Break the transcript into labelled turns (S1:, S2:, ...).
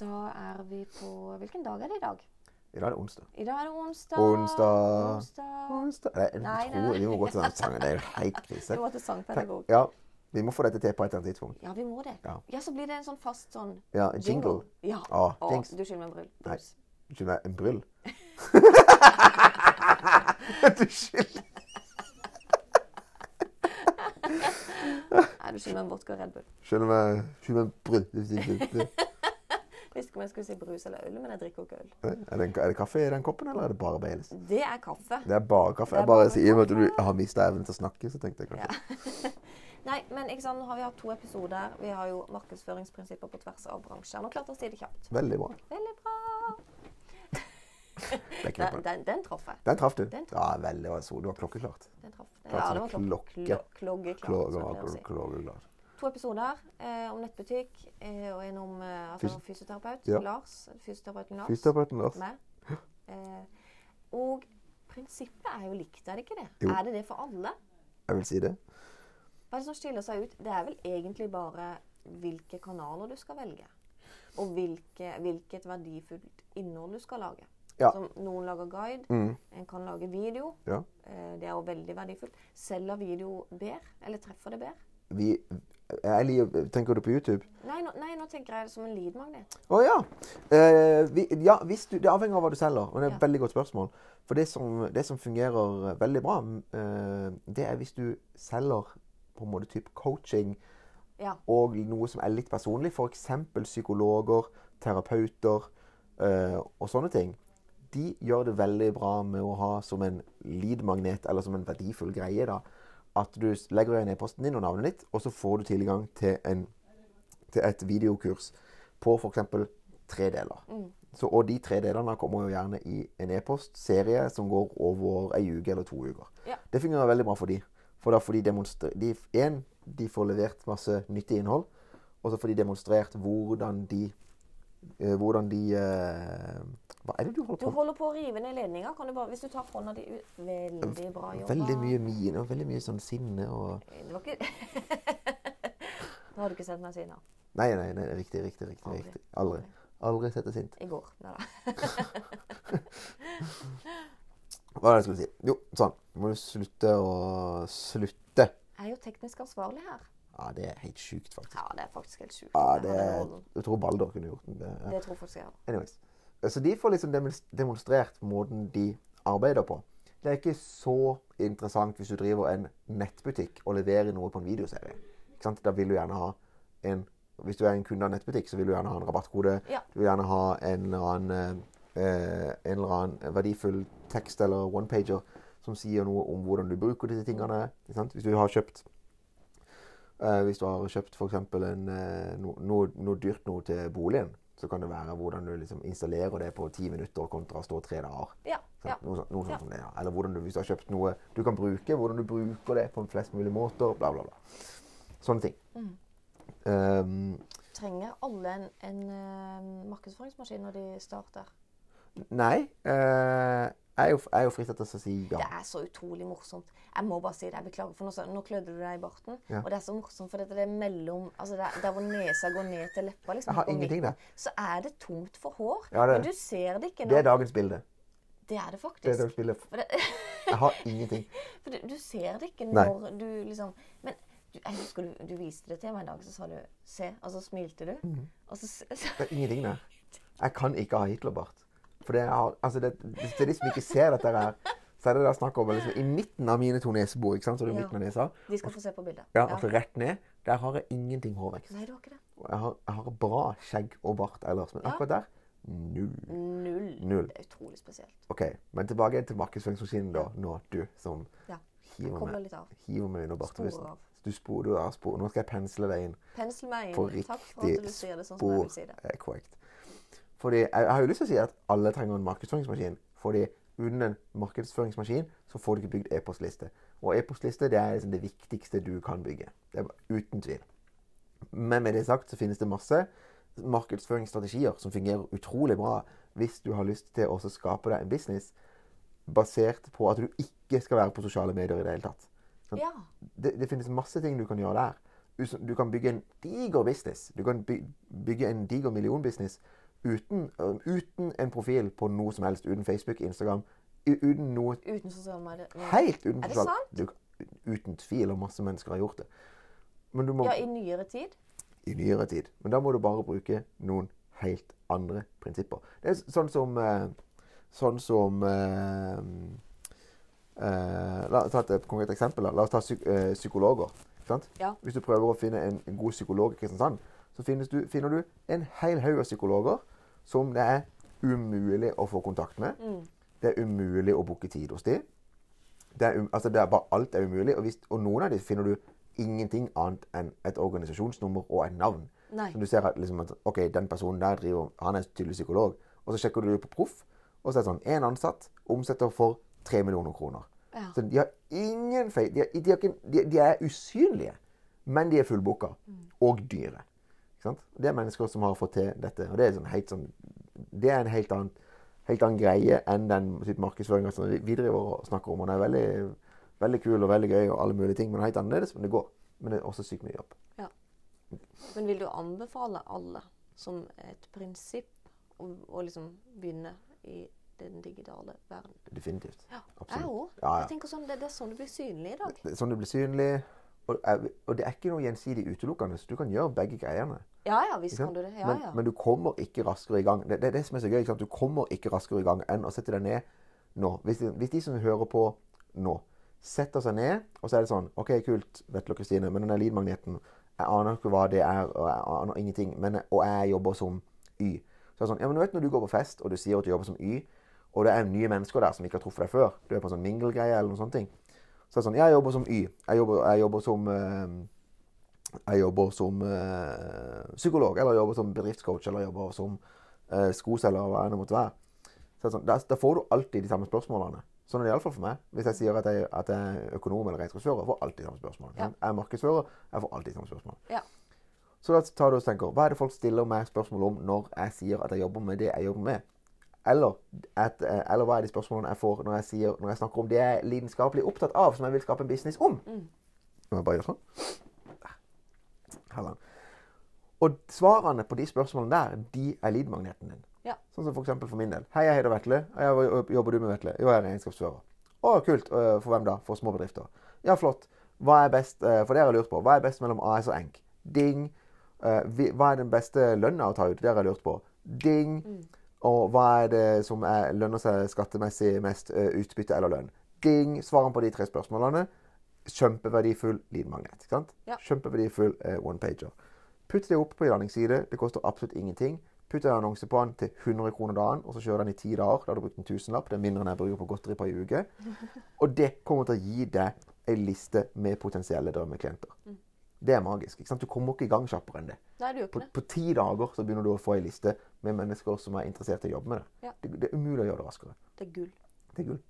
S1: Da er vi på Hvilken dag er det i dag?
S2: I dag er det onsdag.
S1: I dag er det onsdag.
S2: Onsdag.
S1: onsdag.
S2: Onsdag Nei, jeg
S1: Nei,
S2: tror
S1: nei.
S2: vi må gå til den sangen. Det er jo helt krise.
S1: Du var til sangpedagog.
S2: Ja, vi må få dette til på et eller annet tidspunkt.
S1: Ja, vi må det.
S2: Ja.
S1: så blir det en sånn fast sånn
S2: Ja, jingle.
S1: Ja.
S2: Å,
S1: Å,
S2: jinx.
S1: du skylder meg en brus.
S2: Nei.
S1: brus.
S2: Du skylder meg en bryll. du skylder
S1: Nei, du skylder meg en vodka og Red Bull.
S2: Skylder meg skylder meg en bryll.
S1: Jeg Visste ikke om jeg skulle si brus eller øl, men jeg drikker jo ikke øl.
S2: Er det, en, er det kaffe i den koppen, eller er det bare Baileys?
S1: Det er kaffe.
S2: Det er bare kaffe.
S1: Det er
S2: Jeg bare
S1: bare
S2: sier at
S1: kaffe.
S2: du har mista evnen til å snakke, så tenkte jeg kanskje
S1: Nei, men ikke sant, nå har vi hatt to episoder. Vi har jo markedsføringsprinsipper på tvers av bransjer. Nå klarte jeg å si det kjapt.
S2: Veldig bra.
S1: Veldig bra.
S2: Det er
S1: Den,
S2: knappen.
S1: den, den traff jeg.
S2: Den traff du.
S1: Den
S2: Ja, veldig bra. Så du var klokkeklart.
S1: Den traff.
S2: Klart
S1: Ja,
S2: som
S1: det var
S2: en
S1: klok-
S2: klokke.
S1: klo- Klokkeklart. som jeg pleier å si.
S2: Klokkeklart. klokkeklart.
S1: To episoder eh, om nettbutikk eh, og en om eh, altså,
S2: Fysi-
S1: fysioterapeut.
S2: Ja.
S1: Lars. Fysioterapeuten Lars.
S2: Fysioterapeuten Lars.
S1: Meg. Eh, og prinsippet er jo likt, er det ikke det?
S2: Jo.
S1: Er det det for alle?
S2: Jeg vil si det.
S1: Hva er det som skiller seg ut? Det er vel egentlig bare hvilke kanaler du skal velge. Og hvilke, hvilket verdifullt innhold du skal lage.
S2: Ja.
S1: Som noen lager guide,
S2: Mm.
S1: en kan lage video.
S2: Ja.
S1: Eh, Det er jo veldig verdifullt. Selger video bedre? Eller treffer det bedre?
S2: Vi jeg liker, Tenker du på YouTube?
S1: Nei, nå, nei, nå tenker jeg det som en leadmagnet.
S2: Å ja. Eh, vi, ja hvis du, det avhenger av hva du selger. og Det er et
S1: Ja.
S2: veldig godt spørsmål. For det som, det som fungerer eh, veldig bra, eh, det er hvis du selger på en måte type coaching
S1: Ja.
S2: og noe som er litt personlig. F.eks. psykologer, terapeuter eh, og sånne ting. De gjør det veldig bra med å ha som en lead-magnet, eller som en verdifull greie, da, at du s- legger igjen e-posten din og navnet ditt, og så får du tilgang til, en, til et videokurs på f.eks. tre deler.
S1: Mm.
S2: Så, og de tre delene kommer jo gjerne i en e-postserie som går over ei uke eller to uker.
S1: Ja.
S2: Det fungerer veldig bra for de. For da får de demonstrert de, En, de får levert masse nyttig innhold. Og så får de demonstrert hvordan de eh, Hvordan de eh, Hva er det du holder
S1: Du
S2: på med?
S1: holder på å rive ned ledninga. Kan du bare, hvis du tar hånda di ut Veldig bra jobba.
S2: Veldig mye mine og veldig mye sånn sinne og
S1: Det var ikke Nå har du ikke sett meg siden da.
S2: Nei, nei, nei riktig, riktig. riktig,
S1: Aldri.
S2: riktig. Aldri. Aldri sett deg sint.
S1: I går. Nei da.
S2: Hva er det jeg skulle si? Jo, sånn. Nå må du slutte å Slutte!
S1: Jeg er jo teknisk ansvarlig her.
S2: Ja, det er helt sjukt, faktisk.
S1: Ja, det er faktisk helt sjukt.
S2: Ja,
S1: at jeg
S2: det
S1: har den
S2: er,
S1: rollen.
S2: Jeg tror Balder kunne gjort det. Ja.
S1: det tror folk skal gjøre.
S2: Anyways. Så de får liksom demons- demonstrert måten de arbeider på. Det er ikke så interessant hvis du driver en nettbutikk og leverer noe på en videoserie. Ikke sant? Da vil du gjerne ha en Hvis du er en kunde av en nettbutikk, så vil du gjerne ha en rabattkode.
S1: Ja.
S2: Du vil gjerne ha en eller annen, eh, en eller annen verdifull tekst eller one-pager som sier noe om hvordan du bruker disse tingene. Ikke sant? Hvis du har kjøpt Eh, hvis du har kjøpt f.eks. Eh, no, no, noe dyrt noe til boligen, så kan det være hvordan du liksom installerer det på ti minutter kontra å stå tre dager.
S1: Ja.
S2: Sant?
S1: ja.
S2: Noe, sånt- noe sånt
S1: Ja.
S2: som det, ja. Eller hvordan du, hvis du har kjøpt noe du kan bruke, hvordan du bruker det på en flest mulig måter, bla, bla, bla. Sånne ting.
S1: Mm.
S2: Ehm,
S1: Trenger alle en, en eh, markedsføringsmaskin når de starter?
S2: nei eh, jeg, er jo, jeg er jo fristet til å si ja.
S1: Det er så utrolig morsomt. Jeg må bare si det. Jeg beklager, for nå, så- nå klødde du deg i barten.
S2: Ja.
S1: Og det er så morsomt, for dette, det er mellom altså det er, Der hvor nesa går ned til leppa, liksom,
S2: Jeg har
S1: på
S2: ingenting
S1: midten,
S2: der.
S1: Så er det tomt for hår.
S2: Ja, det-
S1: men du ser det ikke nå.
S2: Det er dagens bilde.
S1: Det er det
S2: Det
S1: faktisk.
S2: er dagens bilde.
S1: For, det,
S2: Jeg har ingenting.
S1: for du, du ser det ikke
S2: Nei.
S1: når du liksom Men du, jeg husker du, du viste det til meg en dag, så sa du 'se', og så smilte du.
S2: Mhm.
S1: Og så, s-
S2: Det
S1: så
S2: er ingenting der. Jeg kan ikke ha Hitlerbart. For det er, altså det, til de som ikke ser dette her, så er det der snakk om liksom, i midten av mine to nesebor. ikke sant? Så det er
S1: Ja.
S2: midten av nesa.
S1: De skal få se på bildet.
S2: Ja, altså rett ned. Der har jeg ingenting hårvekst.
S1: Nei, du har ikke det.
S2: Og Jeg har, jeg har bra skjegg og bart ellers, men akkurat der null.
S1: Null.
S2: Null.
S1: Det er utrolig spesielt.
S2: OK, men tilbake til markedsføringsmaskinen, da. Nå, du som
S1: Ja.
S2: hiver
S1: Kobler
S2: meg,
S1: litt av.
S2: hiver meg under bartebussen.
S1: Sporer av.
S2: Du spor, du har spor. Nå skal jeg pensle deg inn.
S1: Pensel meg
S2: på
S1: inn. Takk for at du
S2: riktig
S1: sier det sånn som jeg
S2: spor.
S1: vil si det.
S2: er korrekt. Fordi, jeg, jeg har jo lyst til å si at alle trenger en markedsføringsmaskin. Fordi uten en markedsføringsmaskin så får du ikke bygd e-postliste. Og e-postliste det er liksom det viktigste du kan bygge. Det er bare- Uten tvil. Men med det sagt så finnes det masse markedsføringsstrategier som fungerer utrolig bra hvis du har lyst til å også skape deg en business basert på at du ikke skal være på sosiale medier i det hele tatt. Sånn,
S1: Ja.
S2: det, det finnes masse ting du kan gjøre der. Du, s- du kan bygge en diger business. Du kan by, bygge en diger millionbusiness uten, eh, uten en profil på noe som helst. Uten Facebook, Instagram, u- uten noe
S1: Uten sosiale medier.
S2: Helt uten
S1: Er det
S2: sosial-
S1: sant?
S2: Du, uten tvil, og masse mennesker har gjort det. Men du må,
S1: Ja, i nyere tid.
S2: I nyere tid. Men da må du bare bruke noen helt andre prinsipper. Det er s- sånn som eh, Sånn som eh, eh, La oss ta et konkret eksempel. da. La oss ta psyk eh, psykologer. Ikke sant?
S1: Ja.
S2: Hvis du prøver å finne en, en god psykolog i Kristiansand, så finnes du, finner du en hel haug av psykologer som det er umulig å få kontakt med.
S1: Mm.
S2: Det er umulig å booke tid hos dem. Det er, um- altså det er bare alt er umulig, og, hvis, og noen av dem finner du ingenting annet enn et organisasjonsnummer og et navn.
S1: Nei.
S2: Så du ser at, liksom, at ok, den personen der driver, han er tydelig psykolog, og så sjekker du på proff, og så er det sånn, en ansatt omsetter for 3 millioner kroner.
S1: Ja.
S2: Så de har ingen feil, de, har, de, har ikke, de, de er usynlige, men de er fullboka, og dyre. Ikke sant? Det er mennesker som har fått til dette, og det er, sånn helt, sånn, det er en helt annen, helt annen greie enn den type markedsføringa som vi driver og snakker om. Og den er veldig, veldig kul og veldig gøy og alle mulige ting, men helt annerledes, men det går. Men det er også sykt mye jobb.
S1: Ja. Men vil du anbefale alle som et prinsipp å, å liksom begynne i den digitale verden?
S2: Definitivt.
S1: Ja, jeg
S2: Absolutt.
S1: òg.
S2: Ja, ja.
S1: Jeg tenker sånn, det, det er sånn du blir synlig i dag.
S2: Det er Sånn det blir synlig. Og, er- og det er ikke noe gjensidig utelukkende, så du kan gjøre begge greiene.
S1: Ja ja, visst
S2: Ikke
S1: kan
S2: sant?
S1: du det. Ja
S2: men,
S1: ja.
S2: men du kommer ikke raskere i gang. Det, det er det som er så gøy. Ikke sant? Du kommer ikke raskere i gang enn å sette deg ned nå. Hvis de, hvis de som hører på nå, setter seg ned, og så er det sånn OK, kult, Vetle og Kristine, men den der lydmagneten Jeg aner ikke hva det er, og jeg aner ingenting, men, og jeg jobber som Y. Så er det sånn, ja, men du vet når du går på fest, og du sier at du jobber som Y, og det er nye mennesker der som ikke har truffet deg før, du er på en sånn mingelgreie eller noen sånne ting, så er det sånn Jeg jobber som Y. Jeg jobber, jeg jobber som eh, jeg jobber som eh, psykolog, eller jobber som bedriftscoach, eller jobber som eh, skoselger, eller hva enn det måtte være. Så det er sånn, da, da får du alltid de samme spørsmålene. Sånn er det iallfall for meg. Hvis jeg sier at jeg, at jeg er økonom eller regnskapsfører, får jeg alltid de samme spørsmål.
S1: Ja.
S2: Jeg er markedsfører, jeg får alltid de samme spørsmål.
S1: ja.
S2: Så da tar du og tenker, hva er det folk stiller meg spørsmål om når jeg sier at jeg jobber med det jeg jobber med? Eller, at, eh, eller hva er de spørsmålene jeg får når jeg, sier, når jeg snakker om det jeg er lidenskapelig opptatt av, som jeg vil skape en business om?
S1: Mm.
S2: Nå må jeg bare gjøre sånn. Her er den. Og svarene på de spørsmålene der, de er leadmagneten din.
S1: Ja.
S2: Sånn som for eksempel for min del. Hei, jeg heter Vetle. Ja, hva jobber du med, Vetle? Jo, jeg er regnskapsfører. Å, kult. Eh, For hvem da? For små bedrifter. Ja, flott. Hva er best, eh, for dere har lurt på, hva er best mellom AS og ENK? Ding. Eh, vi- Hva er den beste lønna å ta ut? Dere har lurt på. Ding. Og hva er det som er, lønner seg skattemessig mest, eh, utbytte eller lønn? Ding. Svarene på de tre spørsmålene. Kjempeverdifull leadmagnet. ikke sant?
S1: Ja.
S2: Kjempeverdifull eh, one-pager. Putt det opp på en landingsside. Det koster absolutt ingenting. Putt en annonse på den til 100 kroner dagen, og så kjører den i ti dager. Da har du brukt en tusenlapp. Det er mindre enn jeg bruker på godteri på ei uke. Og det kommer til å gi deg ei liste med potensielle drømmeklienter.
S1: Mm.
S2: Det er magisk. ikke sant? Du kommer ikke i gang kjappere enn det.
S1: Nei, du gjør
S2: På,
S1: ikke det.
S2: på ti dager så begynner du å få ei liste med mennesker som er interessert i å jobbe med det.
S1: Ja.
S2: Det, det er umulig å gjøre det raskere.
S1: Det er gull.
S2: Det er gull.